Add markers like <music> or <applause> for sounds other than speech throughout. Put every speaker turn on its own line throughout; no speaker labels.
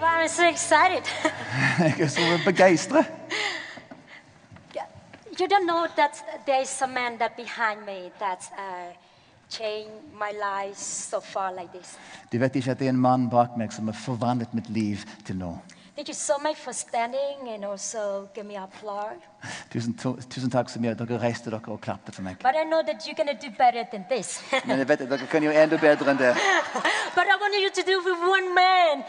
I'm so excited. <laughs>
<laughs> Jeg er så begeistret.
you don't know that there is a man that behind me that's uh, changed my life so far like this.
De vet ikke at det er en mann bak meg som har forvandlet mitt liv til nå.
Thank you so much for standing and also give me applause.
Tusen, to, tusen takk så mye at dere reiste dere og klappet for meg.
But I know that you're gonna do better than this. <laughs>
Men jeg vet at dere kan gjøre enda bedre enn det.
but I want you to do with one man.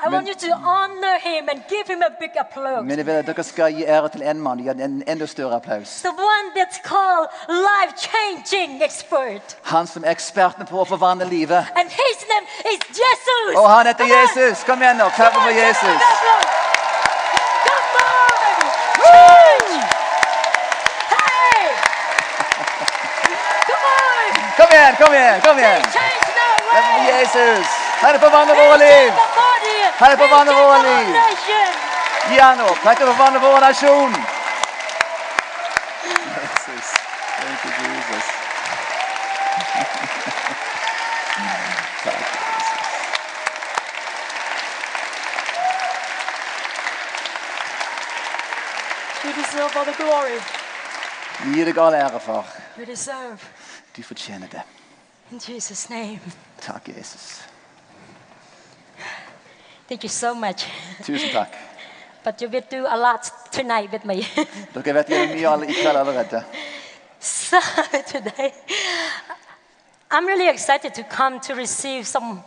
I
Men-
want you to honor him and give him a big applause.
Men jeg vet at dere skal gi ære til en mann og gi ham en enda større applaus.
the one that's called life-changing expert.
Han som er eksperten på å forvandle livet.
And his name is Jesus.
Og han heter
Come on.
Jesus! Kom igjen nå,
Come
klapp
on,
for Jesus!
Come on. Church. Hey. Come on.
Kom igjen, kom igjen! kom igjen!
Change the
Klapp for
way.
Jesus! Han er forvandlet
Change
våre liv!
the body.
Herre, forvandle
Change
våre
the
liv.
nation.
Gi han opp! Han kan forvandle vår nasjon! Jesus. Thank you, Jesus. Takk, Jesus.
You deserve all the glory.
Gi deg all ære, far.
You deserve.
Du fortjener det.
In Jesus' name.
Takk, Jesus.
Thank you so much.
Tusen takk.
But you will do a lot tonight with me. <laughs>
Dere vet jeg er mye alle, i kveld allerede.
So <laughs> today, I'm really excited to come to receive some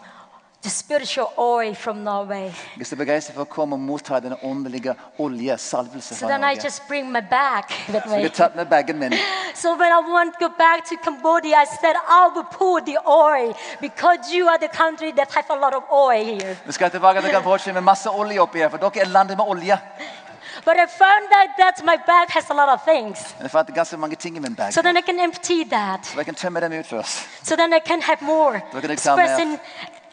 the spiritual oil from Norway.
Jeg er så begeistret for å komme og motta denne åndelige olje, salvelse
So
fra
then I
Norge.
just bring my bag <laughs> with
Så jeg
me.
har tatt med bagen min.
So when I want to go back to Cambodia, I said I will pour the oil because you are the country that have a lot of oil here.
Vi skal tilbake til Kambodsja med masse olje oppi her, for dere er landet med olje.
But I found out that my bag has a lot of things.
Men jeg fant ganske mange ting i min bag.
So then I can empty that.
Så jeg kan tømme dem ut først.
So then I can have more
We're gonna come
space
out.
in,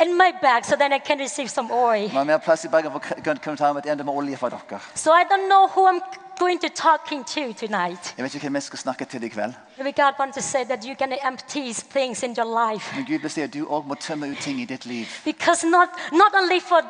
in my bag. So then I can receive some oil.
Man har mer plass i bagen for å kunne ta med et enda med olje fra dere.
So I don't know who I'm going to talking to tonight.
Jeg vet ikke hvem jeg skal snakke til i kveld.
Maybe God wants to say that you're going to empty things in your life.
Men Gud vil si at du òg må tømme ut ting i ditt liv.
Because not, not only for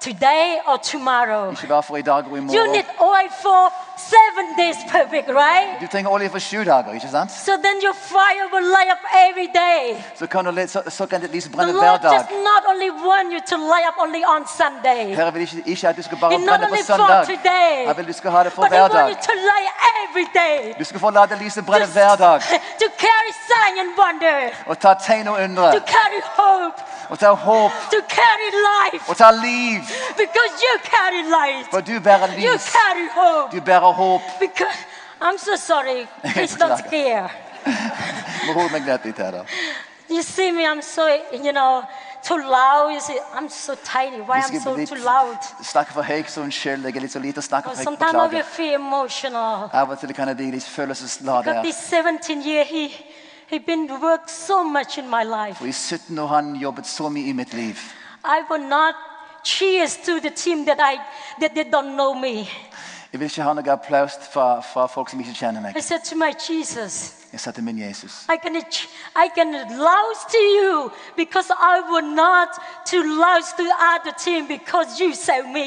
today or tomorrow.
Ikke bare for i dag og i
You
morgen.
need oil for seven days per week, right?
Du trenger olje for sju dager, ikke sant?
So then your fire will light up every day.
Så kan, du, le- så, så kan ditt lys
The
brenne hver
Lord does
dag.
not only want you to light up only on Sunday,
Herre vil ikke, ikke at du skal bare
and not
brenne
only
for
for
søndag.
today,
Han vil du skal ha det for
but He
hver dag.
wants you to light every day.
Du skal få la det lyset brenne
to-
hver dag.
<laughs> To carry sign and wonder,
Og ta tegn og
to
undre.
carry hope,
Og ta håp.
to carry life,
Og ta liv.
because you carry light,
For du bærer
you
lys.
carry hope.
Du bærer håp.
Because I'm so sorry, please don't
Beklager.
scare.
Må holde meg litt i det. da.
You see me, I'm so, you know, too loud. You see, I'm so tiny. Why I'm
Jeg skal
so
bli
too loud?
litt- snakke for høyt, så unnskyld. Jeg er litt så lite og snakker for høyt.
Sometimes I will
Beklager.
feel emotional.
Av og til kan jeg bli litt følelsesladet
Because
her.
this 17 year, he he been worked so much in my life.
For i 17 år har han jobbet så mye i mitt liv.
I will not cheers to the team that I that they don't know me.
Jeg vil ikke ha noe applaus fra, fra folk som ikke kjenner meg.
I said to my Jesus,
Jeg sa til min Jesus.
I can ch- I can louse to you because I will not to louse to other team because you saved me.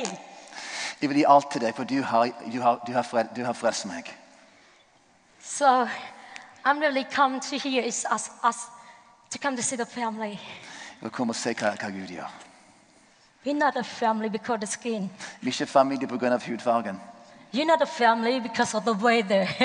Jeg vil gi alt til deg, for du har, du har, du har, frel, du har frelst meg.
So I'm really come to here is us, us to come to see the family.
Og kom og se hva, hva Gud gjør.
We're not a family because of the skin.
Vi er ikke familie pga. hudfargen.
You're not a family because of the weather. <laughs>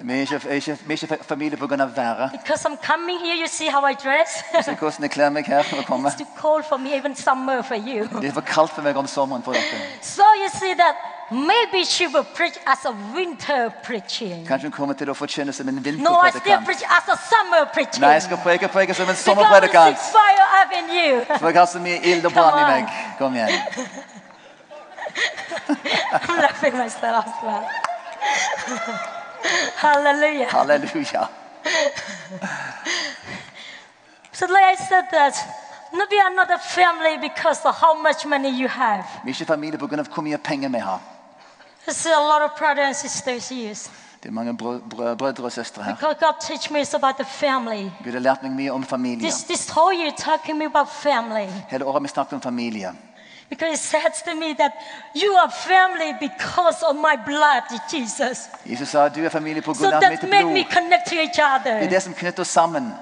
Vi er ikke, er ikke, vi er ikke familie pga. været.
because I'm coming here, you see how I dress? <laughs>
Se hvordan jeg kler meg her for å komme.
it's too cold for me, even summer for you.
Det er for kaldt for meg om sommeren for dere.
So you see that maybe she will preach as a winter preaching.
Kanskje hun kommer til å forkynne som en
No, I still
vinterpredikant.
preach as a summer preaching.
Nei, jeg skal preke, preke som en
because I
sommerpredikant.
see fire up in you.
For jeg har så mye ild og brann i meg. Kom igjen.
<laughs> I'm laughing myself as well. <laughs> Hallelujah.
Halleluja.
So like I said that, maybe I'm not a family because of how much money you have.
Vi er ikke familie pga. hvor mye penger vi har.
There's a lot of brothers and sisters here.
Det er mange brø brø brødre og søstre her.
Because God teach me is about the family.
Gud har lært meg mye om familie.
This, this whole year talking me about family.
Hele året har vi snakket om familie.
Because it says to me that you are family because of my blood, Jesus.
Jesus sa du er familie på
So
grunn av mitt
that make me
blod.
connect to each
Det er
other.
det som knytter oss sammen.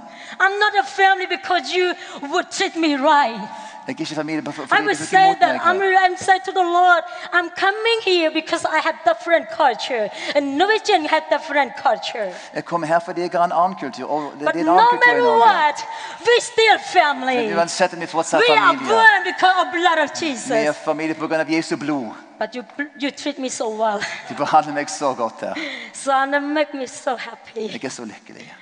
I'm not a family because you would treat me right.
Jeg er ikke familie for-
I
fordi
would
du tok
say
imot
that I'm,
meg.
I'm saying to the Lord, I'm coming here because I have different culture, and Norwegian had different culture.
Jeg kommer her fordi jeg har en annen kultur. Og det,
But
det er en
no
annen kultur i
matter
Norge.
what, we still family.
Men uansett om vi fortsatt
We
er
are
familie.
born because of blood of
Vi er
Jesus.
familie på grunn av Jesu blod.
But you, you treat me so well, <laughs>
Du behandler meg så godt her.
so and it make me so happy.
Jeg er så lykkelig.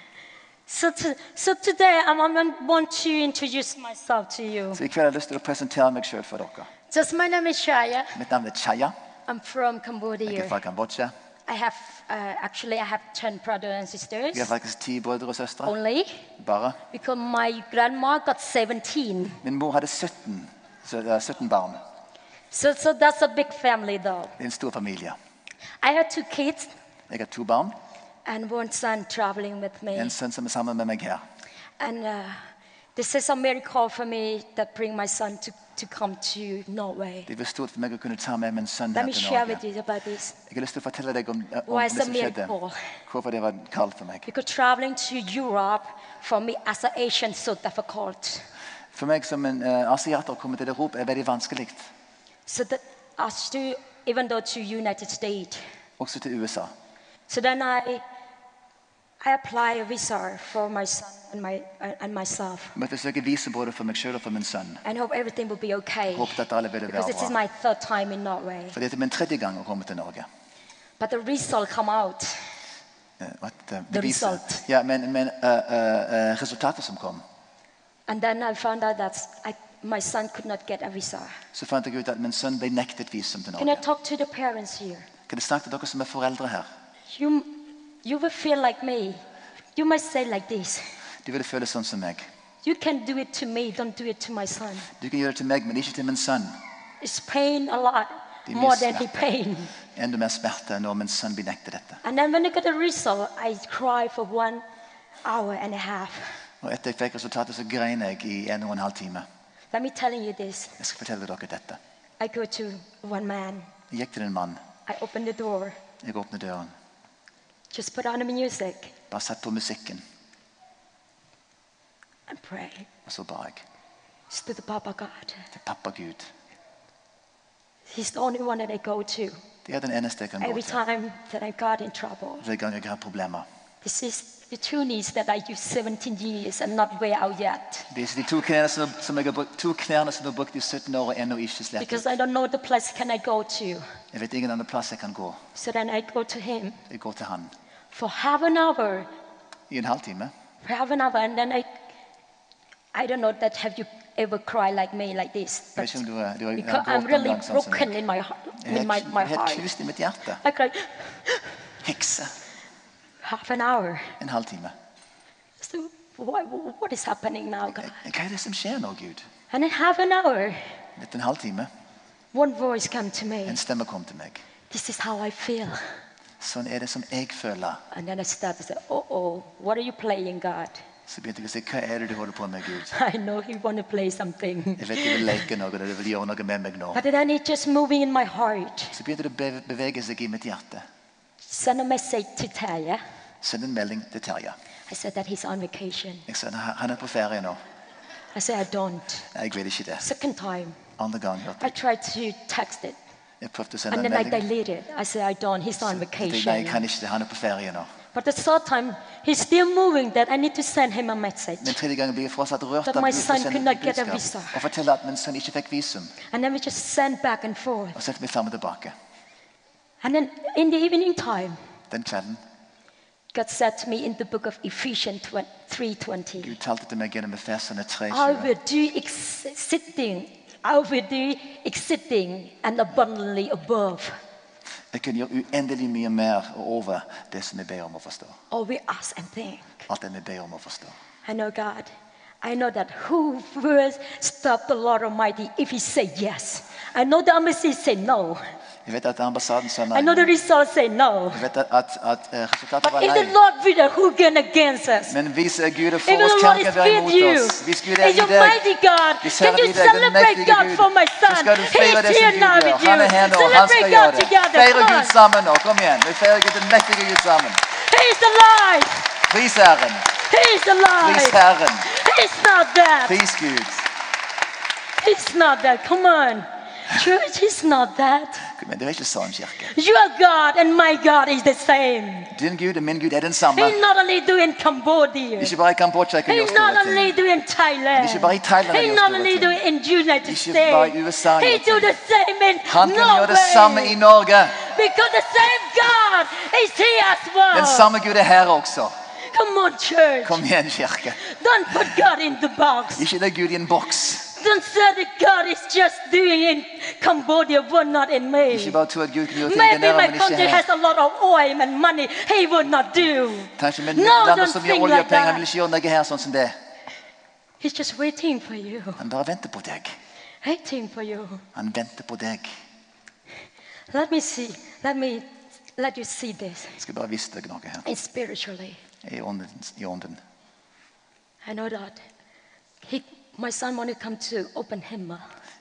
So, to, so today I'm, I want to introduce myself to you.
Så i kveld har jeg lyst til å presentere meg sjøl for dere.
Just my name is Shaya.
Mitt navn er Chaya.
I'm from
Jeg er
Cambodia.
fra Kambodsja.
I have uh, actually I have ten brothers and sisters
Vi har faktisk ti brødre og søstre.
only.
Bare.
Because my grandma got 17.
Min mor hadde 17, så, eh, 17 barn.
So, so that's a big family, though.
Det er en stor familie.
I had two kids
Jeg har to barn.
and one son traveling with me.
En sønn som er sammen med meg her.
And uh, this is a miracle for me that bring my son to, to come to Norway.
Det blir stort for meg å kunne ta med min sønn
Let
her
me
til
share
Norge.
with you about this.
Jeg har lyst til å fortelle deg om, eh, om
Why
det
is
som
a
skjedde.
miracle?
Hvorfor det var kaldt for meg.
Because traveling to Europe for me as an Asian so difficult.
For meg som en eh, asiater å komme til Europa er veldig vanskelig.
So that us to even though to United States.
Også til USA.
So then I I apply a visa for my son and my and myself.
Jeg måtte søke visum både for meg sjøl og for min sønn.
and hope everything will be okay.
Håpet at alle ville
Because
være
this is
bra.
my third time in Norway.
For dette er min tredje gang å komme til Norge.
But the result come out.
Eh, At, eh,
The
beviset.
result.
Ja, men, men eh, eh, eh, resultatet som kom,
And then I found out that I, my son could not get a visa.
så fant jeg ut at min sønn ble nektet visum til
Can I
Norge.
talk to the parents here?
Kan jeg snakke til dere som er foreldre her?
You, you will feel like me. You might say like this.
Du ville føle sånn som meg.
You can do it to me, don't do it to my son.
Du kan gjøre det til meg, men ikke til min sønn.
It's pain a lot,
Det
more
blir
than he
smerte.
pain.
Enda mer smerte når min sønn blir nektet dette.
And then when I got the result, I cried for one hour and a half.
Og etter jeg fikk resultatet, så grein jeg i en og en halv time.
Let me tell you this.
Jeg skal fortelle dere dette.
I go to one man.
Jeg gikk til en mann.
I open the door.
Jeg åpnet døren.
Just put on the music
Bare satt på musikken,
and pray.
og så ba jeg
Just to the Papa God.
til pappa Gud.
He's the only one that I go to
Det er den eneste jeg kan gå
every
til
time that I got in trouble.
hver gang jeg har problemer.
This is the two knees that I use 17 years and not wear out yet.
Disse de to knærne som, som jeg har brukt, to knærne som jeg har brukt i 17 år og ennå ikke slettet.
Because I don't know the place can I go to.
Jeg vet ingen annen plass jeg kan gå.
So then I go to him
Jeg går til han
for half an hour,
i en halvtime.
for half an hour, and then I, I don't know that have you ever cried like me like this.
Jeg vet ikke om du, er- du har-
because
har
I'm
grått noen
really
gang sånn som
broken
meg.
in my, heart-
Jeg
in my,
er
my
helt- helt
heart.
knust i mitt hjerte.
I cried
Hekse.
half an hour.
En halvtime.
So what, what is happening now, God?
Hva er det som skjer nå, Gud?
And in half an hour,
Etter en halvtime,
one voice come to me.
en stemme kom til meg.
This is how I feel.
Sånn er det som jeg føler.
And then I started to say, oh, oh, what are you playing, God? <laughs>
Så begynte jeg å si, hva er det du holder på med, Gud?
I know He want to play something. <laughs>
Jeg vet du vil leke noe, og du vil gjøre noe med meg nå.
But then it just moving in my heart.
Så begynte det å be- bevege seg i mitt hjerte.
Send a message to Taya.
Send en melding til Terje.
I said that he's on vacation.
Jeg sa, "Nei, han er på ferie nå.
I said, I don't.
Nei, Jeg vil ikke det.
Second time,
Andre gang hørte
I
jeg.
tried to text it.
Jeg prøvde å sende
And
en
then I
melding.
deleted it. I said, I don't. He's on
Jeg tenkte, Nei, jeg
vacation.
kan ikke det. Han er på ferie nå.
But the third time, he's still moving that I need to send him a message.
Men tredje gangen blir jeg fortsatt rørt
That
av
my
Gud
son
for å sende
could not get a
budskap,
visa.
og fortelle at min sønn ikke fikk visum.
And then we just sent back and forth.
Og sendte meg fram og tilbake.
And then in the evening time,
Den kvelden
God said to me in the book of Ephesians 3:20,
Gud talte til meg gjennom Efesene
"I
3.20.
will do exceeding, I will do exceeding and abundantly above
Jeg kunne gjøre uendelig mye mer og over det som vi ber om å forstå.
all we ask and think."
Alt det vi ber om å forstå.
I know God. I know that who will stop the Lord Almighty if He say yes. I know the embassy say no.
Jeg vet at ambassaden sa nei.
I know the
men
results say no.
Jeg vet at, at eh, resultatet
But
var
if
nei.
the Lord be there, who can against us?
Men hvis eh, Gud er
If
for
the
oss,
Lord
hvem
is
kan være
with
mot
you,
oss? Hvis Gud er
is
i
your
deg,
mighty God,
Hvis
can
Herren er
you
i deg, den
celebrate
mektige
God
Gud,
for my
så
son?
skal du
He
feire
is
det som
here
Gud
now
gjør.
with you.
Han er her nå, og han
Celebrate
skal
God
gjøre det.
together.
Feire
Come on.
Gud sammen nå. Kom igjen. Vi feirer Gud, den mektige Gud sammen.
He is alive.
Pris Herren.
He is
Pris
alive.
Herren.
He's not that.
Pris Gud.
He's not that. Come on. Church, he's not that.
Men det er ikke sånn, kirke.
Your God and my God is the same.
Din Gud og min Gud er den samme.
He not only do in Cambodia.
Ikke bare i Kambodsja kan
He
gjøre
not
store
only
ting.
do in Thailand.
Ikke bare i Thailand
He
gjør
not
store
only do
ting.
in United
Ikke bare i
States.
USA
He
gjør
do
ting.
the same in
Han kan gjøre det samme i
Norway.
Norge.
Because the same God is here as
Den
well.
samme Gud er her også.
Come on, church.
Kom igjen, kirke.
Don't put God in the box.
Ikke det Gud i en boks.
Don't say that God is just doing in Cambodia, but not in
Ikke
me.
bare tro at Gud kan gjøre ting der
Maybe
nede,
my
men ikke
country
her.
has a lot of oil and money. He would not do.
Kanskje med
No,
landet
don't
som
think
gir olje
like
og penger, han
that.
vil ikke gjøre noe her sånn som det.
He's just waiting for you.
Han bare venter på deg.
Waiting for you.
Han venter på deg.
Let me see. Let me let you see this.
Jeg skal bare vise deg noe her.
It's spiritually.
I ånden. I ånden.
I know that. He, my son wanted to come to open himmel.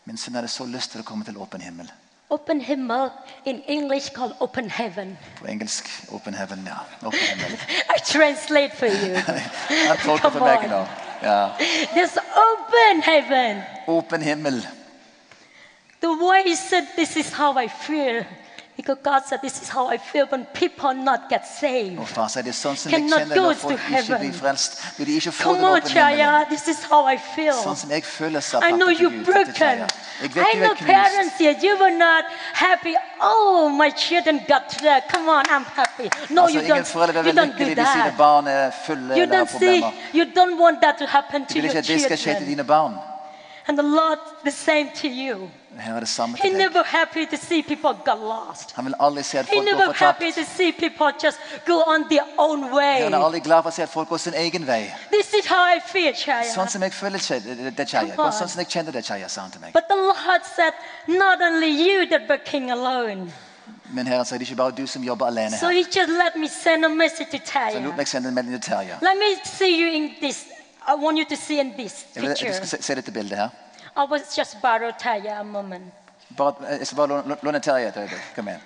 Min sønn hadde så lyst til å komme til åpen himmel.
Open himmel in English called open heaven.
På engelsk open heaven, ja. Open himmel. <laughs>
I translate for you.
Han tolker for
Come
meg
on.
nå. Ja.
There's open heaven.
Åpen himmel.
The way he said, This is how I feel. Because God said, This is how I feel when people not get saved.
Og far sier det er sånn som jeg
Cannot
kjenner når
goes to
folk ikke
heaven.
blir frelst. Når de ikke får
Come
den
on,
åpne himmelen.
Chaya, this is how I
Sånn
feel.
som jeg føler, sa
I
pappa
know
til
you're
Gud. til
broken.
Chaya. Jeg
I
vet du
know
er knust.
parents here, you were not happy. Oh, my children got there. Come on, I'm happy. No,
Altså,
you
ingen
don't,
foreldre vil
you
være
don't do
lykkelige. De sier at
that.
barn er fulle
You
eller har
don't see,
problemer.
you don't want that to happen
Du
to
vil
your
ikke at det skal skje til
children.
dine barn.
And the Lord, the same to you.
Her er det samme
He
til deg.
never happy to see people got lost.
Han vil aldri se at
He
folk går
never happy
fortapt.
to see people just go on their own
Han er
way.
aldri glad for å se at folk går sin egen vei.
This is how I feel,
Sånn
Chaya.
som jeg føler kje- det, det Chaya.
Come on.
Sånn som jeg kjenner det Chaya, sa han til meg.
But the Lord said, not only you that were king alone.
Men Herren sier det er ikke bare du som jobber alene
So
her.
he just let me send a message to
Så lot
Taya.
meg sende en melding til Terje.
Let me see you in this. I want you to see in this
Jeg vil at du
picture.
skal se, se dette bildet her.
I was just borrow Taya a moment.
Bare, eh, jeg skal bare låne- låne, låne Terje et øyeblikk. Kom igjen.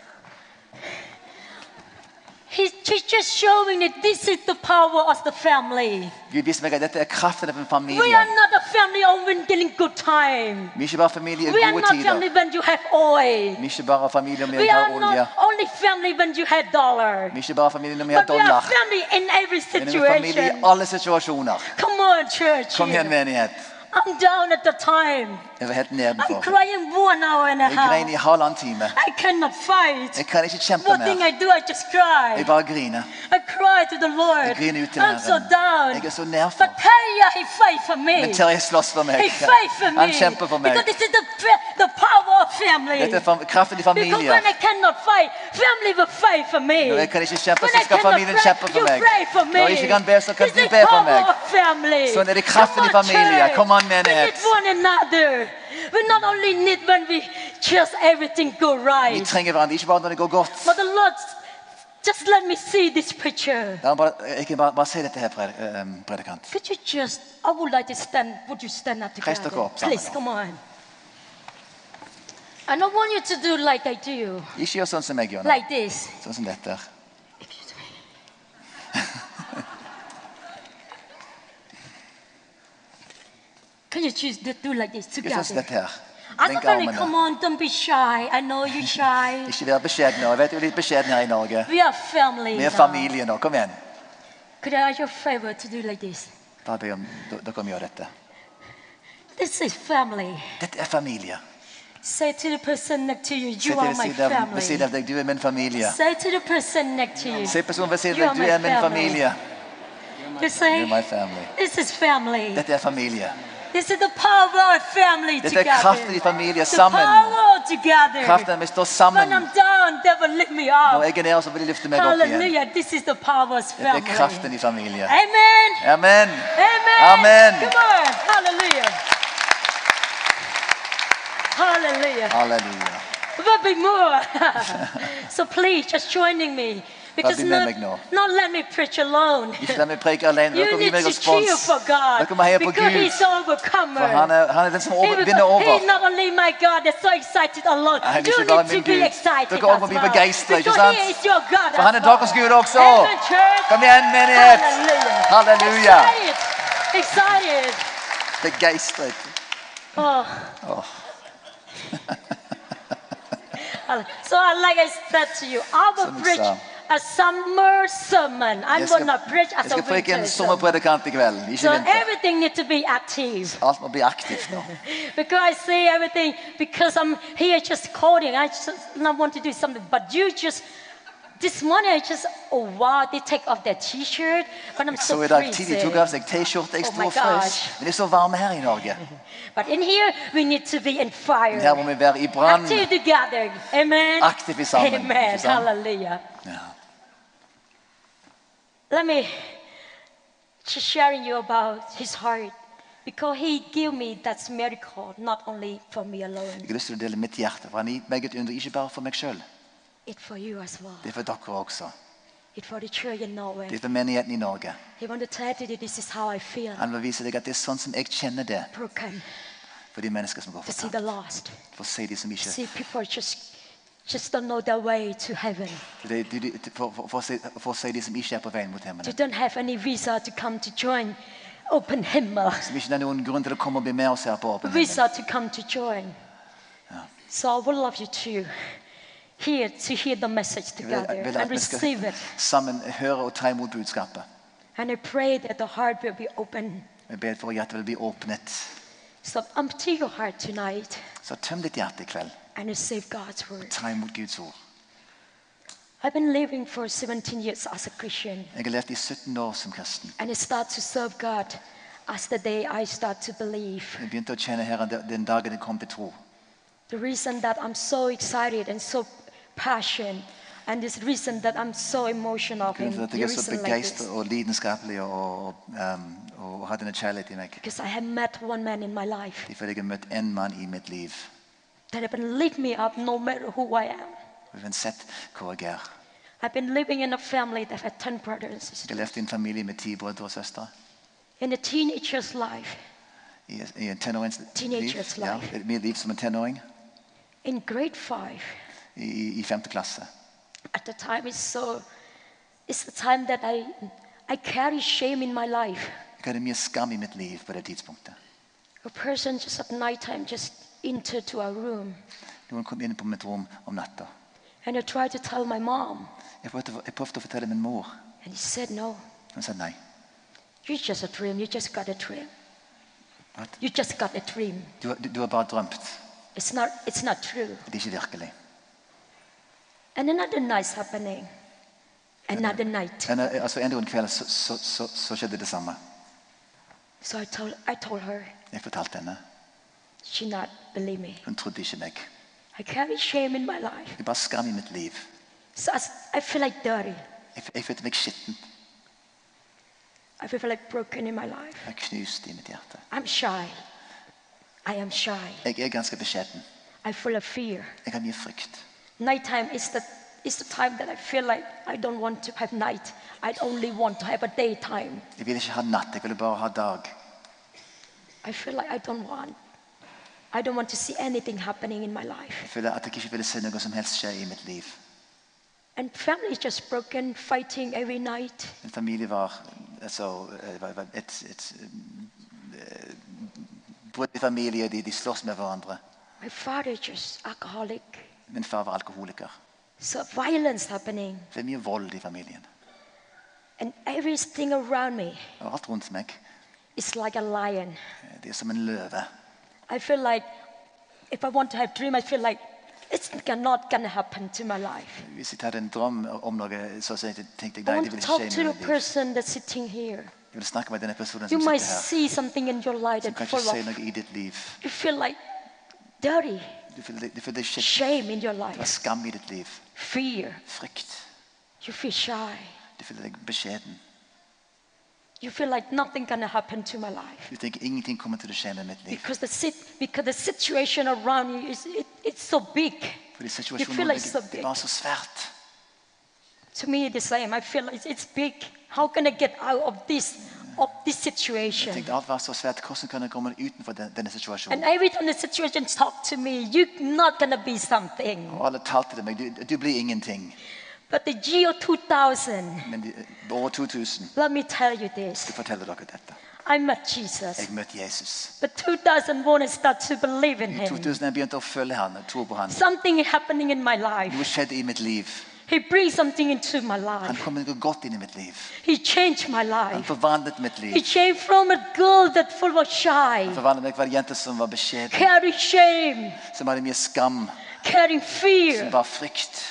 He's he's just showing that this is the power of the family.
Gud viser meg at dette er kraften av en
We are
familie.
not a family only getting good time.
Vi er ikke bare familie i
We are
gode
not
tider.
family when you have oil.
Vi er ikke bare familie om vi
We
har
are
olje.
not only family when you have dollar.
Vi er ikke bare familie om vi har
But we are
dollar.
family in every
Men vi er familie i
situation.
alle situasjoner.
Come on, church.
Kom igjen,
here.
menighet.
I'm down at the time.
Jeg var helt
I'm
nedenfor.
crying one hour and a
Jeg grein
half.
i halvannen time.
I cannot fight.
Jeg kan ikke kjempe
One thing
mer.
I do, I just
Jeg
cry.
bare griner.
I cry to the Lord.
Jeg griner ut til
I'm so
Herren.
down.
Jeg er så nedfor.
But Taya, he fight for me.
Men Terje slåss for meg.
He fight for me.
Han kjemper for meg.
Because this is the, fa- the power of family.
Dette er fam- kraften i
Because
familier.
when I cannot fight, family will fight for me.
Når jeg kan ikke kjempe,
When
så
I
skal
cannot
familien
pray,
kjempe for
you
meg.
pray for
Når jeg
me.
ikke kan be, så kan
This
du
is
be for
power
meg.
of family.
Sånn er det kraften i
Come on,
familien.
church.
Kom an,
We
menighet.
need one another. We not only need when we just everything go
Vi
right.
trenger hverandre, ikke bare når det går godt.
But the Lord, just let me see this picture.
La meg bare, jeg kan bare, bare si dette her, pred- eh, predikant.
Could you just, I would like to stand, would you stand up
Reis dere
together?
opp sammen
Please,
nå.
come on. And I don't want you to do like I do,
Ikke gjør sånn som jeg gjør nå.
like this.
Sånn som dette. her.
Can you just do- do like this
Gjør sånn som
together?
dette her.
I
Blink
don't really, come
armene.
on, don't be shy. I know you're shy.
Ikke vær beskjeden nå. Jeg vet du er litt beskjeden her i Norge.
We are family.
Vi er
now.
familie nå. Kom igjen.
Could I ask your favor to do like this?
Bare be om d- dere om å gjøre dette.
This is family.
Dette er familie.
Say to the person next to you,
Se
you
til
are
ved
my
siden av- ved siden
family.
av deg. Du er min familie.
Say to the person next to you,
Se personen ved siden
You
av
are
deg. Du
my
er min
family.
familie.
you
You're
say,
my family.
This is family.
Dette er familie.
This is the power of family
Dette er kraften i
together.
familie
The
sammen.
power together.
Kraften vi står sammen.
When I'm down, they will lift me
Når
up.
jeg er nede, så vil de løfte meg opp igjen.
Hallelujah. This is the power of
Dette er
family.
kraften i familie.
Amen.
Amen.
Amen.
Amen.
Come on. Hallelujah. Hallelujah.
Halleluja.
But be more. so please, just joining me. Because
be med
not,
meg nå.
not let me preach alone.
Ikke la meg preke alene. Dere
You
må gi
need
meg
to cheer
respons.
for God.
Dere må heie på
Because
Gud.
he's the overcomer.
For han er, han er den som
He
over,
will
vinner
go-
over.
He's not only my God that's so excited alone.
Han är
You
inte bara
need
min
to be
Gud.
excited
Dere også må
as
bli
well.
begeistret, ikke
Because
sant?
he is your God
For han
as
er deres
well.
Gud også.
Heaven, church,
Kom igjen, menighet.
Hallelujah.
Halleluja.
Excited. Excited.
Begeistret.
Oh.
Oh.
<laughs> so I like I said to you, I will
Som
preach
sa.
a summer sermon. I'm
Jeg skal,
gonna preach
jeg
as a
skal preke
winter
en
sermon.
sommerpredikant i kveld, ikke
So
i vinter.
everything needs to be active
Alt må bli aktivt
<laughs>
nå.
because I say everything because I'm here just coding. I just not want to do something, but you just this morning I just oh wow they take off their t-shirt, but I'm
Så
so
i dag tidlig tok jeg
freezing.
av seg T-skjorte. Jeg
Oh
sto
my
og frøs.
gosh.
Men det er så varme her i Norge.
But in here we need to be in fire,
Men her må vi være i brann.
active together. Amen.
Active is sammen,
Amen.
ikke sant?
Hallelujah.
Ja.
Let me just sharing you about His heart because He gave me that miracle not only for me alone,
Jeg har lyst til å dele mitt hjerte, for han har gitt meg et under, ikke bare for meg sjøl.
it for you as well.
Det er for dere også.
It for the church in Norway.
Det er for menigheten i Norge.
He wanted to tell you this is how I feel.
Han vil vise deg at det er sånn som jeg kjenner det
broken
for de mennesker som går
to see
fortapt.
the lost.
For å si de som ikke
See people just just don't know their way to heaven.
for de- de- de- for- for- for å si- For å si de som ikke er på veien mot
They
himmelen.
don't have any visa to come to join open himmel.
Som ikke har noen grunn til å komme og bli med oss her på åpen himmel.
Visa to come to join. So I would love you to hear to hear the message
Jeg vil,
together
jeg vil
and
at vi
receive
skal
it.
sammen høre og ta imot budskapet.
And I pray that the heart will be open.
Vi ber for at hjertet vil bli åpnet.
So empty your heart tonight
Så tøm ditt hjerte i kveld.
and receive God's word.
Ta imot Guds ord.
I've been living for 17 years as a Christian.
Jeg har levd i 17 år som kristen.
and I start to serve God as the day I start to believe.
Jeg begynte å tjene Herren de- den dagen jeg kom til tro.
The reason that I'm so excited and so passionate, and this reason that I'm so emotional
Grunnen
and
til at
the
jeg er så
reason like
begeistret
this,
og lidenskapelig og, og, um, og hadde en kjærlighet i meg.
because I have met one man in my life
Det er fordi jeg har møtt en mann i mitt liv.
that have been lifting me up no matter who I am.
Og Uansett hvor jeg er.
I've been living in a family that had 10 brothers and sisters.
Jeg har levd i en familie med ti brødre og søstre.
In a teenager's life,
I, i en tenårings liv.
Teenager's
Ja,
life.
et- mitt liv som en tenåring
in grade 5,
i, i- i femte klasse.
at the time it's so, it's the time that I, I carry shame in my life.
Jeg hadde mye skam i mitt liv på det tidspunktet.
A person just at nighttime just entered to our room,
Noen kom inn på mitt rom om natta.
and I tried to tell my mom,
Jeg prøvde, jeg prøvde å fortelle min mor.
and he said, "No,
Hun sa nei.
you just a dream. You just got a dream.
What?
You just got a dream.
Du, har- du, du har bare drømt.
It's not. It's not true."
Det er ikke virkelig.
And another night's happening. Another night.
En, altså en dag en kveld så, så, så, så skjedde det samme.
So I told. I told her.
Jeg fortalte henne.
She not believe me.
Hun trodde ikke meg.
I carry shame in my life.
Det er bare skam i mitt liv.
So I, s- I feel like dirty.
Jeg, jeg følte meg skitten.
I feel like broken in my life.
Jeg er knust i mitt hjerte.
I'm shy. I am shy.
Jeg er ganske beskjeden.
I full of fear.
Jeg har mye frykt.
Nighttime is the, is the time that I feel like I don't want to have night. I only want to have a daytime.
Jeg vil ikke ha natt, jeg vil bare ha dag.
I feel like I don't want. I don't want to see anything happening in my life.
Jeg føler at jeg ikke ville se noe som helst skje i mitt liv.
And family is just broken, fighting every night.
Min familie var, altså, eh, var- var et, et eh, brudd i familie, de, de slåss med hverandre.
My father is just alcoholic.
Min far var alkoholiker.
So violence happening.
Det er mye vold i familien.
And everything around me
Og alt rundt meg.
is like a lion.
eh, Det er som en løve.
I feel like if I want to have dream, I feel like it's not gonna happen to my life.
Hvis jeg hadde en drøm eh, om noe, så sier jeg- tenkte jeg
I
nei,
want
det
to
vil
talk
ikke skje
to
i
the
mitt liv.
person that's sitting here.
Jeg vil snakke med denne personen
You
som
might
sitter her.
see something in your life
Som
that
kanskje
full
ser
of,
noe i ditt liv.
you feel like dirty,
Du føler deg- du føler deg skitten.
shame in your
Det var
life,
skam i ditt liv.
fear.
Frykt.
You feel shy.
Du føler deg beskjeden.
You feel like nothing gonna happen to my life
Du tenker ingenting kommer til å skje med mitt liv.
because the sit because the situation around you is it, it's so big.
Fordi
You feel
situasjonen
like so
det,
big.
det var så svært.
To me, the same. I feel it's, it's big. How can I get out of this, of this
Jeg
situation?
tenkte alt var så svært. Hvordan kan jeg komme utenfor den, denne
And
situasjonen?
every time the situation talk to me, you're not gonna be something.
Og alle talte til meg. Du, du blir ingenting.
But the year 2000,
Men de, år 2000
let me tell you this.
forteller dere dette.
I met Jesus.
Jeg møtte Jesus.
But 2001, I start to believe in
I
Him.
2000 jeg begynte å følge han, tro på han.
Something happening in my life.
Noe skjedde i mitt liv.
He brings something into my
Han
life.
kom noe godt inn i mitt liv.
He changed my
Han
life.
forvandlet mitt
He
liv.
changed from a girl that full of shy,
Han forvandlet meg fra en jente som var beskjeden,
carrying shame,
som hadde mye skam,
carrying
som
fear,
var frykt,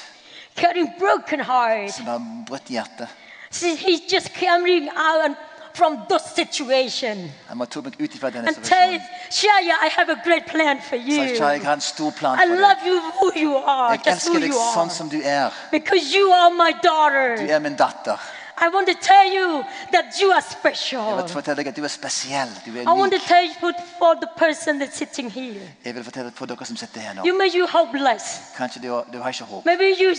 carrying broken heart.
som var brutt hjerte.
See, he just coming out and from those situation
Han bare tok meg ut ifra denne
and tell
situasjonen.
Shia, I have a great plan for
Så
you.
jeg sa jeg har en stor plan
I
for deg.
love you who you are,
Jeg
just who
elsker deg
you are,
sånn som du er.
because you are my
Du
daughter.
er min datter.
I want to tell you that you are
Jeg
special.
vil fortelle deg at du er spesiell. Du er
I want to
unik.
tell you for for the person that's sitting here.
Jeg vil fortelle for dere som sitter her nå.
You may you hopeless.
Kanskje du, du har ikke håp.
Maybe you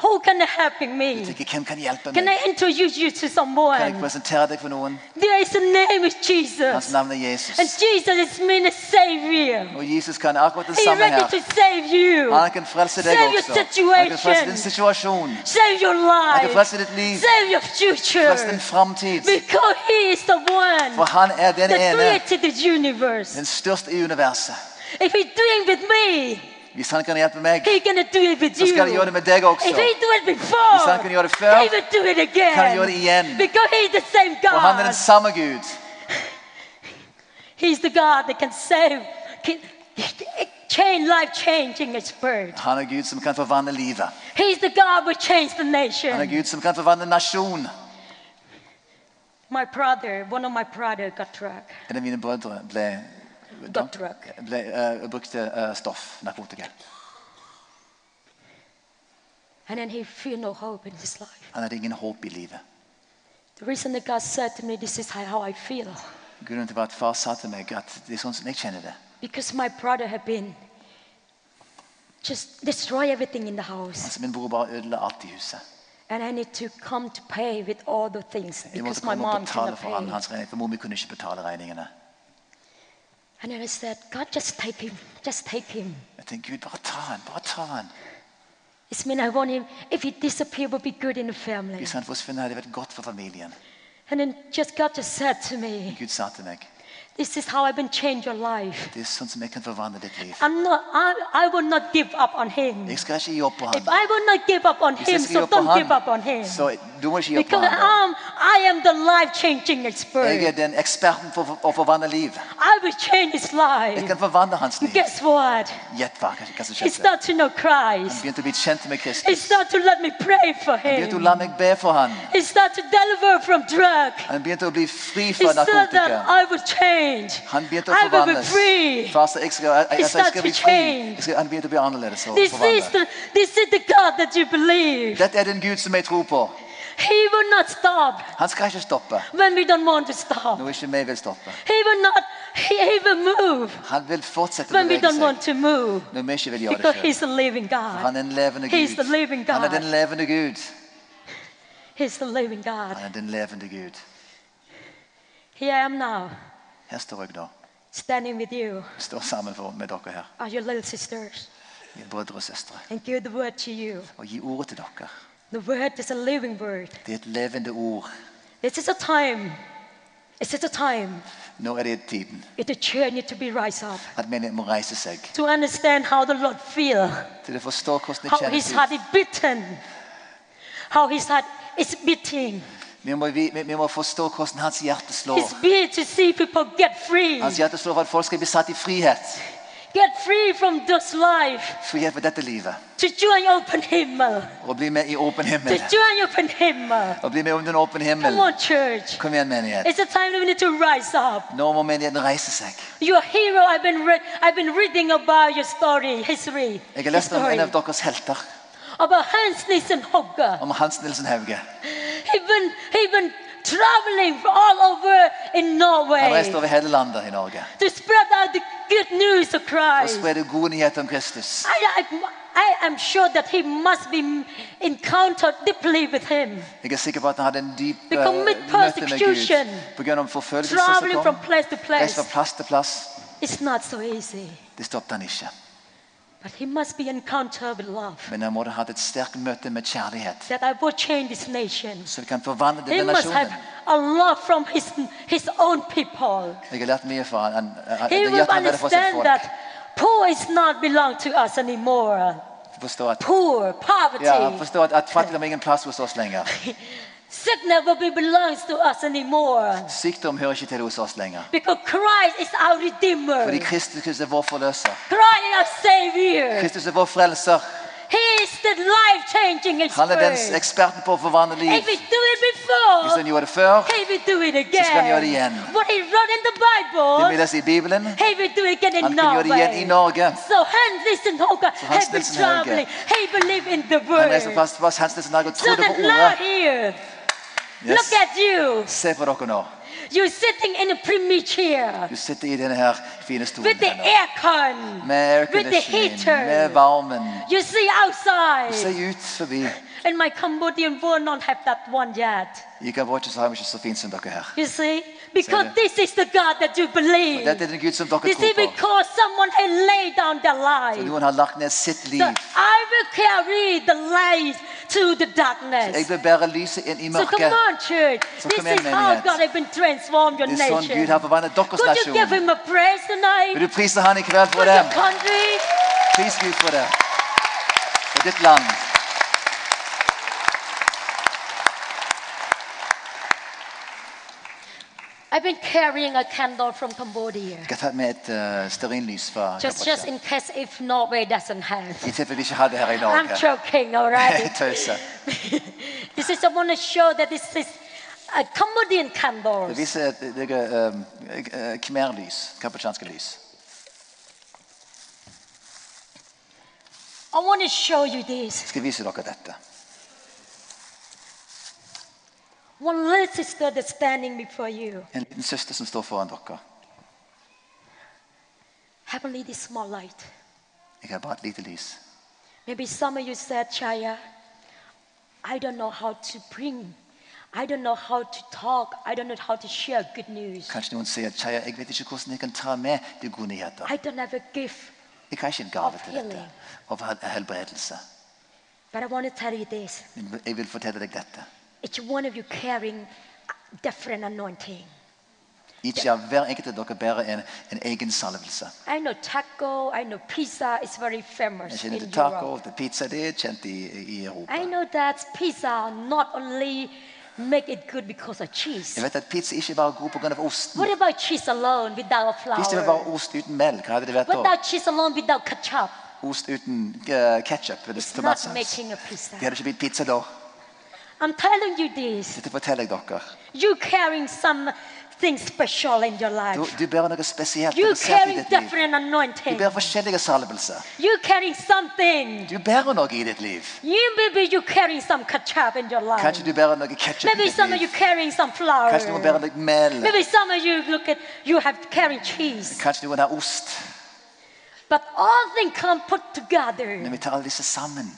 who can help me?
Tenker, hvem kan hjelpe
Can
meg?
I introduce you to
Kan jeg
someone?
presentere deg for noen?
There is a name is
Hans
Jesus.
navn er
And
Jesus.
Jesus is mean a savior.
Og Jesus kan akkurat det
He
samme
ready
her.
to save you.
Han kan frelse deg
Save your
også. Han kan frelse
situation.
din situasjon.
Save your
Han kan
life.
frelse ditt liv.
Save your
Frelse
future.
din framtid.
Because he is the one
For han er den
that
ene,
created the universe.
den største i universet.
If he do it with me,
Hvis han kan hjelpe meg,
he gonna do it with
så
you.
skal han gjøre det med deg også.
If he do it
Hvis han kan
before,
gjøre det før,
he will do it again.
kan han gjøre det igjen.
Because he's the same
For han er
God.
den samme Gud.
He's the God that can save, can, change life changing his bird.
Han er Gud som kan forvandle livet.
He's the God who changed the
Han er
nation.
Gud som kan forvandle nasjon.
My brother, one of my brother got drug.
En av mine brødre ble,
Got drug.
ble, eh, brukte eh, stoff, narkotika.
And then he feel no hope in his life.
Han hadde ingen håp i livet.
The reason that God said to me, this is how I feel.
Grunnen til at far sa til meg at det er sånn som jeg kjenner det.
Because my brother had been just destroy everything in the house.
Altså, min bror bare ødela alt i huset.
And I need to come to pay with all the things
Jeg måtte
because my
komme og
mom
betale
cannot
for han,
pay.
hans regning, for mor mi kunne ikke betale regningene.
And then I said, God, just take him. Just take him.
Jeg tenkte, Gud, bare ta han, bare ta han.
It's mean I want him, if he disappear, will be good in the family.
Hvis han forsvinner, hadde det vært godt for familien.
And then just God just said to me,
Gud sa til meg,
this is how I've been change your life.
det er sånn som jeg kan forvandle ditt liv.
I'm not, I, I will not give up on him.
Jeg skal ikke gi opp på
If
han.
I will not give up on
Hvis
him,
jeg skal gi
so
opp på
don't give up on
han,
him.
så du må ikke gi opp på
Because I'm,
han.
I am the life changing
da. Jeg er
expert.
den eksperten for for å forvandle liv.
I will change his
Jeg
life.
kan forvandle hans liv.
Guess what?
Gjett hva, hva som
He
skjedde.
started to know
Han
Christ.
begynte å bli kjent med
He
Kristus.
started to let me pray for
Han begynte å
him.
la meg be for han.
He started to deliver from drug.
Han begynte å bli fri
He
fra
said that I
narkotika.
will change.
Han begynte å
I will be
forvandles.
free.
Far sa jeg skal, jeg, jeg,
He
jeg, jeg
started
skal bli
to
fri.
change.
Jeg skal, han begynte å bli annerledes og
This is,
forvandlet.
the, this is the God that you believe.
Dette er den Gud som jeg tror på.
He will not stop
Han skal ikke stoppe
when we don't want to stop.
når ikke vi vil stoppe.
He will not, he, he will move
Han vil fortsette å
when we
bevege
don't
seg
want to move.
når vi ikke vil gjøre det
Because
selv.
he's a living
Han
God.
er en levende
He's the living
Gud. Han er
God.
den levende Gud.
He's the living God.
Han er den levende Gud.
Here I am now,
Her står jeg nå.
standing with you,
Jeg står sammen for, med dere her,
are your little sisters,
mine brødre og søstre,
and give the word to you.
og gi ordet til dere.
The word is a living word.
Det er et levende ord.
This is a time. This is a time
Nå er det tiden
if the church need to be rise up
at menigheten må reise seg
to understand how the Lord feel,
til å forstå hvordan det
how His
kjennes
heart
ut.
is beaten, how His heart is beating.
Vi må, vi, vi må forstå hvordan hans hjerte slår.
It's beat to see people get free,
Hans hjerte slår for at folk skal bli satt i frihet.
get free from this life
Frihet for dette livet.
to join open himmel,
Og bli med i åpen
to
himmel.
join open himmel.
Og bli med under en åpen himmel.
Come on, church.
Kom igjen, menighet.
It's a time that we need to rise up.
Nå må menigheten reise seg.
Your hero, I've been, re- I've been reading about your story, history,
Jeg har lest om
history,
en av deres helter,
about Hans Nielsen Hogger.
om Hans Nilsen Hauge.
He been, he been traveling all over in
Han
Norway
reiste over hele landet i Norge
to spread the out the good news of
og
Christ.
spre gode nyheter om Kristus.
I, I, I am sure that he must be encountered deeply with him,
Jeg er sikker på at han hadde en dyp eh,
Because with
møte med
persecution,
Gud pga. forfølgelser
traveling
som
from
kom.
place to
Reist
place.
fra plass til plass.
It's not so easy,
Det stoppet han ikke.
but he must be encountered with love.
Men han måtte ha hatt et sterkt møte med kjærlighet,
That I will change this nation.
så vi kan forvandle
He
denne
must have a
nasjonen.
love from his, his own people.
Jeg har lært mye fra han. han, han
He
det
will
hjertet han hadde for sitt
understand
folk.
that poor is not belong to us anymore.
Forstå at,
Poor,
ja,
poverty,
forstå at, at fattigdom er ingen plass hos oss lenger.
sickness will be belongs to us anymore.
Sykdom hører ikke til hos oss lenger.
Because Christ is our
Fordi
Redeemer.
Kristus Kristus er vår forløser.
Christ is our Savior.
Kristus er vår frelser.
He is the life-changing
Han er den
expert.
eksperten på å forvandle
If
liv.
we do it
Hvis
before,
han gjorde det før,
he will do it
kan vi gjøre
again.
det igjen.
What he wrote in the
det vi
Bible,
leser i Bibelen,
he will do it again in
han kan gjøre det igjen i
Norway.
Norge.
So Hans Nielsen Hoga
Hans
had been
Nielsen Hauge.
traveling. He believed in the
Han reiser
word.
fast til Hans Nielsen Hauge og
So
trodde
that
på
now
ordet.
here,
Yes.
look at you.
Se på dere nå.
You're sitting in a premier chair
Du sitter i denne her fine stolen
with the
her nå.
aircon,
Med
with the
airconditioning, med
heater.
varmen.
You see
Se
outside.
ut forbi.
And my Cambodian world not have that one yet.
I Kambodsja så har vi ikke så fint som dere her.
You see, because
Sorry.
this is the God that you believe.
Dette er den Gud som dere
You see,
tror på.
because someone had laid down their life.
Noen har lagt ned sitt liv.
So I will carry the light to the
Jeg
darkness.
vil bære lyset inn i
So come
mørket.
on, church.
Så
This
kom igjen,
is how
menighet.
God has been transformed your
Det er sånn
nation.
Gud har forvandlet deres
Could you give
nasjon.
him a praise
Vil
tonight?
du prise Han i kveld
For
for
your
dem?
country?
Pris Gud for det. For ditt land.
I've been carrying a candle from Cambodia.
Jeg har tatt med et eh, stearinlys fra
Just, just
Kambodsja.
in case if Norway doesn't have.
I tilfelle de ikke har det her i eh,
I'm
Norge.
joking, all
Jeg <laughs>
right? <laughs>
tøyser.
this is, I want to show that this is a Cambodian
Det
candle.
viser et- det er, um, eh, khmer-lys. Kambodsjanske lys.
I want to show you this.
Jeg skal vise dere dette.
One little sister that's standing before you.
En liten søster som står foran dere.
Have only this small light.
Jeg har bare et lite lys.
Maybe some of you said, Chaya, I don't know how to bring. I don't know how to talk. I don't know how to share good news.
Kanskje noen sier Chaya, jeg vet ikke hvordan jeg kan ta med de gode nyheter.
I don't have a gift.
Jeg har ikke en gave til
Healing.
dette. Over hel- helbredelse.
But I want to tell you this.
Men Jeg vil fortelle deg dette.
Each one of you carrying a different anointing.
Ikke av hver enkelt av dere bærer en, en egen salvelse.
I know taco, I know pizza is very
Jeg
famous in
kjenner til
Europe.
taco, til pizza. Det er kjent i, i Europa.
I know that pizza not only make it good because of
Jeg
cheese.
vet at pizza ikke bare er god pga. osten.
What about cheese alone without
Hvis det var
flour?
bare ost uten melk, hva hadde det vært da?
Without cheese alone without ketchup,
Ost uten uh, ketsjup eller
it's not
tomatsaus.
making a
Det
pizza.
hadde ikke blitt pizza da.
I'm telling you this.
Dette forteller jeg dere.
You carrying something special in your
Du,
life.
du bærer noe spesielt.
You
noe sært i
carrying
ditt liv.
different
Du
anointing.
bærer forskjellige salvelser.
You carrying something.
Du bærer noe i ditt liv.
You maybe you carrying some ketchup in your life.
Kanskje du bærer noe ketsjup i
Maybe
ditt
some of you
liv.
carrying some flour.
Kanskje noen bærer noe mel.
Maybe some of you look at you have carrying cheese.
Kanskje noen har ost.
But all things come put
Men
together,
vi tar alle disse sammen.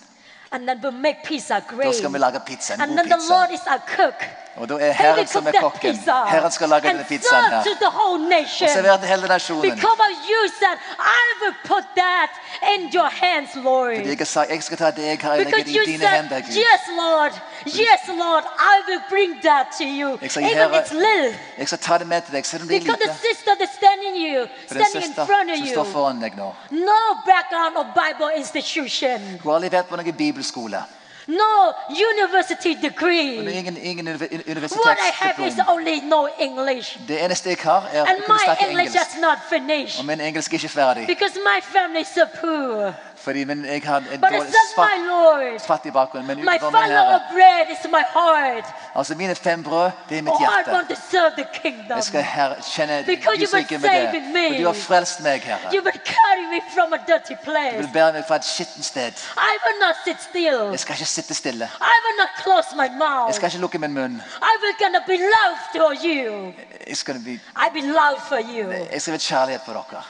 and then we make pizza
Da
great.
skal vi lage pizza. En
And
god
then the
pizza.
Lord is our cook.
Og da er
He will
Herren som
cook
er
that
kokken.
pizza
Herren skal lage
and
denne pizzaen
serve
her.
to the whole
Og
nation.
servere til hele nasjonen.
Because of you said, I will put that in your hands, Lord.
Fordi jeg sa, jeg skal ta deg her og legge
Because
det
you
i dine
said,
hender, Gud.
Yes, Lord, yes, Lord, I will bring that to you.
Jeg sa,
Even
Herre,
it's little.
jeg skal ta det med til deg, selv om det er
Because the
lite.
sister that's standing you,
For den
standing in
søster
front of
som står
you,
foran deg nå.
no background of Bible institution,
Hun har aldri vært på noen bibelskole.
no university
Hun har
degree.
ingen, ingen univer-
What I have is
universitetsdiplom.
only no English.
Det eneste jeg har, er å
And
kunne
my
snakke
English
engelsk.
is not finished
Og min engelsk er ikke ferdig,
because my family is so poor.
fordi min, jeg har en
But I serve
dårlig,
my
svart,
Lord.
fattig bakgrunn. Men
My
utenfor min
follower
herre,
of bread is my heart.
altså mine fem brød, det er
Oh,
mitt
I
hjerte.
want to serve the kingdom.
Jeg skal her, kjenne
Because
Guds
you were
rike med det.
saving me.
For du har frelst meg, Herre.
You will carry me from a dirty
Du
place.
vil bære meg fra et skittent sted.
I will not sit still.
Jeg skal ikke ikke sitte stille.
I will not close my
Jeg
mouth.
skal ikke lukke min munn.
I will gonna be love for you.
Jeg skal, bli,
I be love for you.
jeg skal være kjærlighet på dere.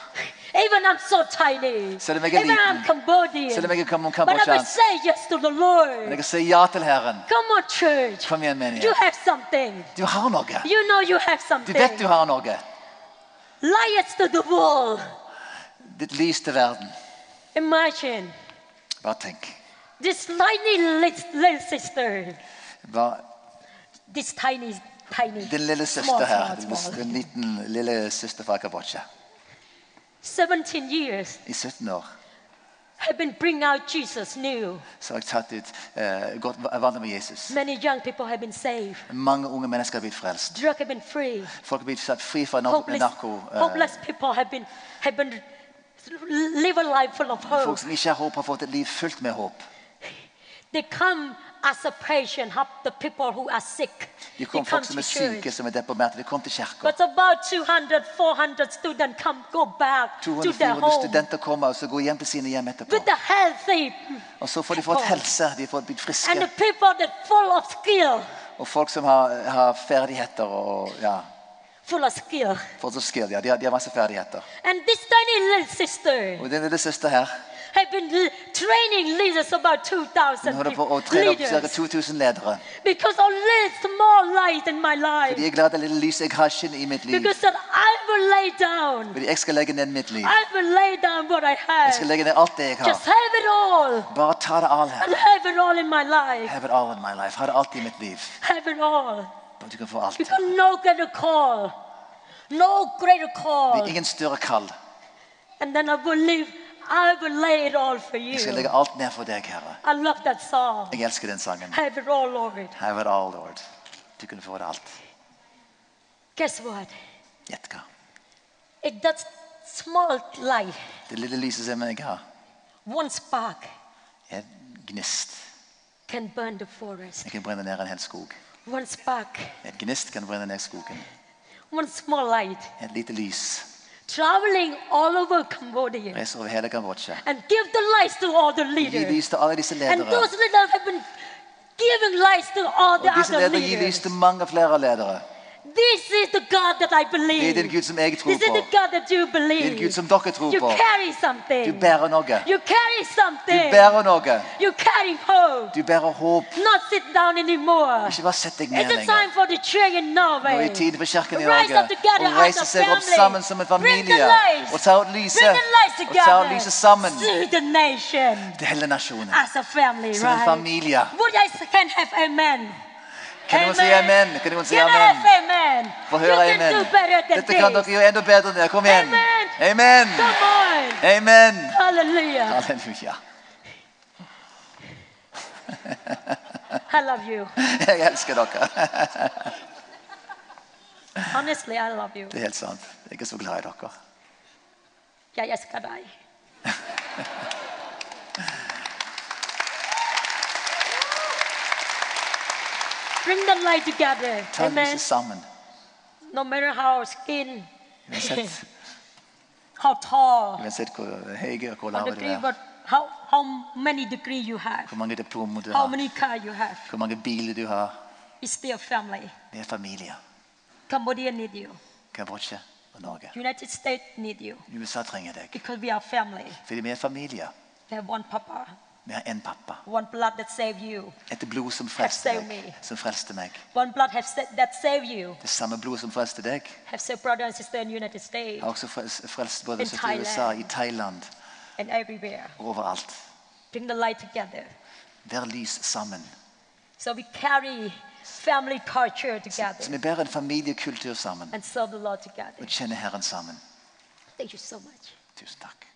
Even I'm so tiny.
Selv om jeg er
Even I'm
liten.
Cambodian.
Selv om jeg er kam-
But I will
kambodsjansk.
say yes to the
Men
Lord.
jeg kan si ja til Herren.
Come on, church.
Kom igjen,
You
menighet.
have something.
Du har noe.
You know you have
Du
something.
vet du har noe.
Lights to the wall.
Ditt lys til verden.
Imagine
Bare tenk.
this tiny lit- little sister.
Bare
This tiny, tiny.
din lille
small,
søster her.
small, small.
Din liten lille søster fra Kambodsja.
17 years
I 17 år
have been bring out Jesus new.
så har jeg tatt ut eh, gått vannet med Jesus.
Many young people have been saved.
Mange unge mennesker har blitt frelst.
Drug have been free.
Folk har blitt satt fri fra nar-
Hopeless,
narko. Eh,
hopeless people have been have been live a life full of hope.
folk som ikke har håp, har fått et liv fullt med håp.
They come as a patient, help the people who are sick.
De
They come
kom folk som
to
er syke,
church.
som er deprimerte. De kom til kirka.
But about 200, 400 students come go back to their
200-400
home
studenter kommer og så går hjem til sine hjem etterpå.
with the healthy
Og så får de fått helse, de får blitt
and the
friske.
people that full of skill,
Og folk som har, har ferdigheter og ja,
full of skill.
folk som skill, ja, de har, de har masse ferdigheter.
And this tiny little sister
Og den lille søster her,
have been l- training leaders about
hun
2,000
holder på å
peop-
trene opp ca.
leaders
2000 ledere.
because of little small light in my life.
Fordi jeg er glad det lille lyset jeg har skinner i mitt liv.
Because that I will lay down.
Fordi jeg skal legge ned mitt liv.
I will lay down what I
Jeg skal
have.
legge ned alt det jeg har.
Just have it all.
Bare ta det all her.
And have it all in my life.
Have it all in my life. Ha det alt i mitt liv.
Have it all.
Bare Du kan få alt. Det
Because no greater call. No greater
er
call.
ingen større kall.
And then I will leave. I will lay it all for
Jeg skal
you.
legge alt ned for deg, Herre.
I love that song.
Jeg elsker den sangen.
Have it all, Lord.
Have it all, Lord. Du kunne få det alt.
Guess what?
Gjett hva.
It that small light,
Det lille lyset som jeg har,
one spark
er en gnist.
can burn the forest.
Jeg kan brenne ned en hel skog.
One spark,
En gnist kan brenne ned skogen.
one small light.
Et lite lys
Traveling all over Cambodia.
reiser over hele Kambodsja.
and give the lights to all the
Gi
leaders.
lys til alle disse
And
ledere.
those leaders have been giving lights to all
Og
the
disse
other
ledere gir lys
leaders.
til mange flere ledere.
This is the God that I
Det
believe.
er den Gud som jeg tror
This is
på.
the God that you
Det er den Gud
believe.
som dere tror
You
på.
carry something.
Du bærer noe.
You carry
Du
something.
bærer noe.
You carry hope.
Du bærer håp.
Not sit down anymore.
Ikke bare sett deg ned
It's a time
lenger.
for the church in Norway.
Nå er tiden for kirken i
Rise
Norge
up together
å
as
reise
a
seg opp
family.
sammen som en
Bring the
familie
lights.
og ta ut
Bring
lyset
the lights
og ta ut
together.
lyset sammen
See the nation
til hele nasjonen.
as a family,
Som en
right?
familie.
Would I can have amen?
Kan noen si amen? Kan noen si
Can I
amen?
have amen?
Få høre
You can
amen.
do better than
Dette kan
this.
dere gjøre enda bedre enn det. Kom igjen.
Amen.
Amen.
Come on.
Amen.
Hallelujah.
Halleluja.
I love you.
Jeg elsker dere.
Honestly, I love you.
Det er helt sant. Jeg er så glad i dere.
Jeg elsker <laughs> deg. Bring the light together.
Ta
Amen.
lyset sammen.
No matter how skin,
Uansett,
how tall,
uansett hvor høy og hvor
how
lav du
degree,
er.
but how, how many degree you have,
Hvor mange diplomer du
how
har.
many car you have,
Hvor mange biler du har.
it's still family.
Vi er familie.
Cambodia need you.
Kambodsja og Norge.
United States need you
USA trenger deg.
because we are family.
Fordi vi er familie.
We have one papa,
Vi har én pappa.
one blood that save you,
Et blod som frelste deg. Som frelste meg.
one blood have sa- that save you.
Det samme blod som frelste deg,
Have saved brother and sister in United States
har også frelst, frelst både
In
søster i USA, i Thailand
and everywhere.
og overalt.
Bring the light together.
Vær lys sammen.
So we carry family culture
Så
together
vi bærer en familiekultur sammen
and serve the Lord together.
og kjenner Herren sammen.
Thank you so much.
Tusen takk.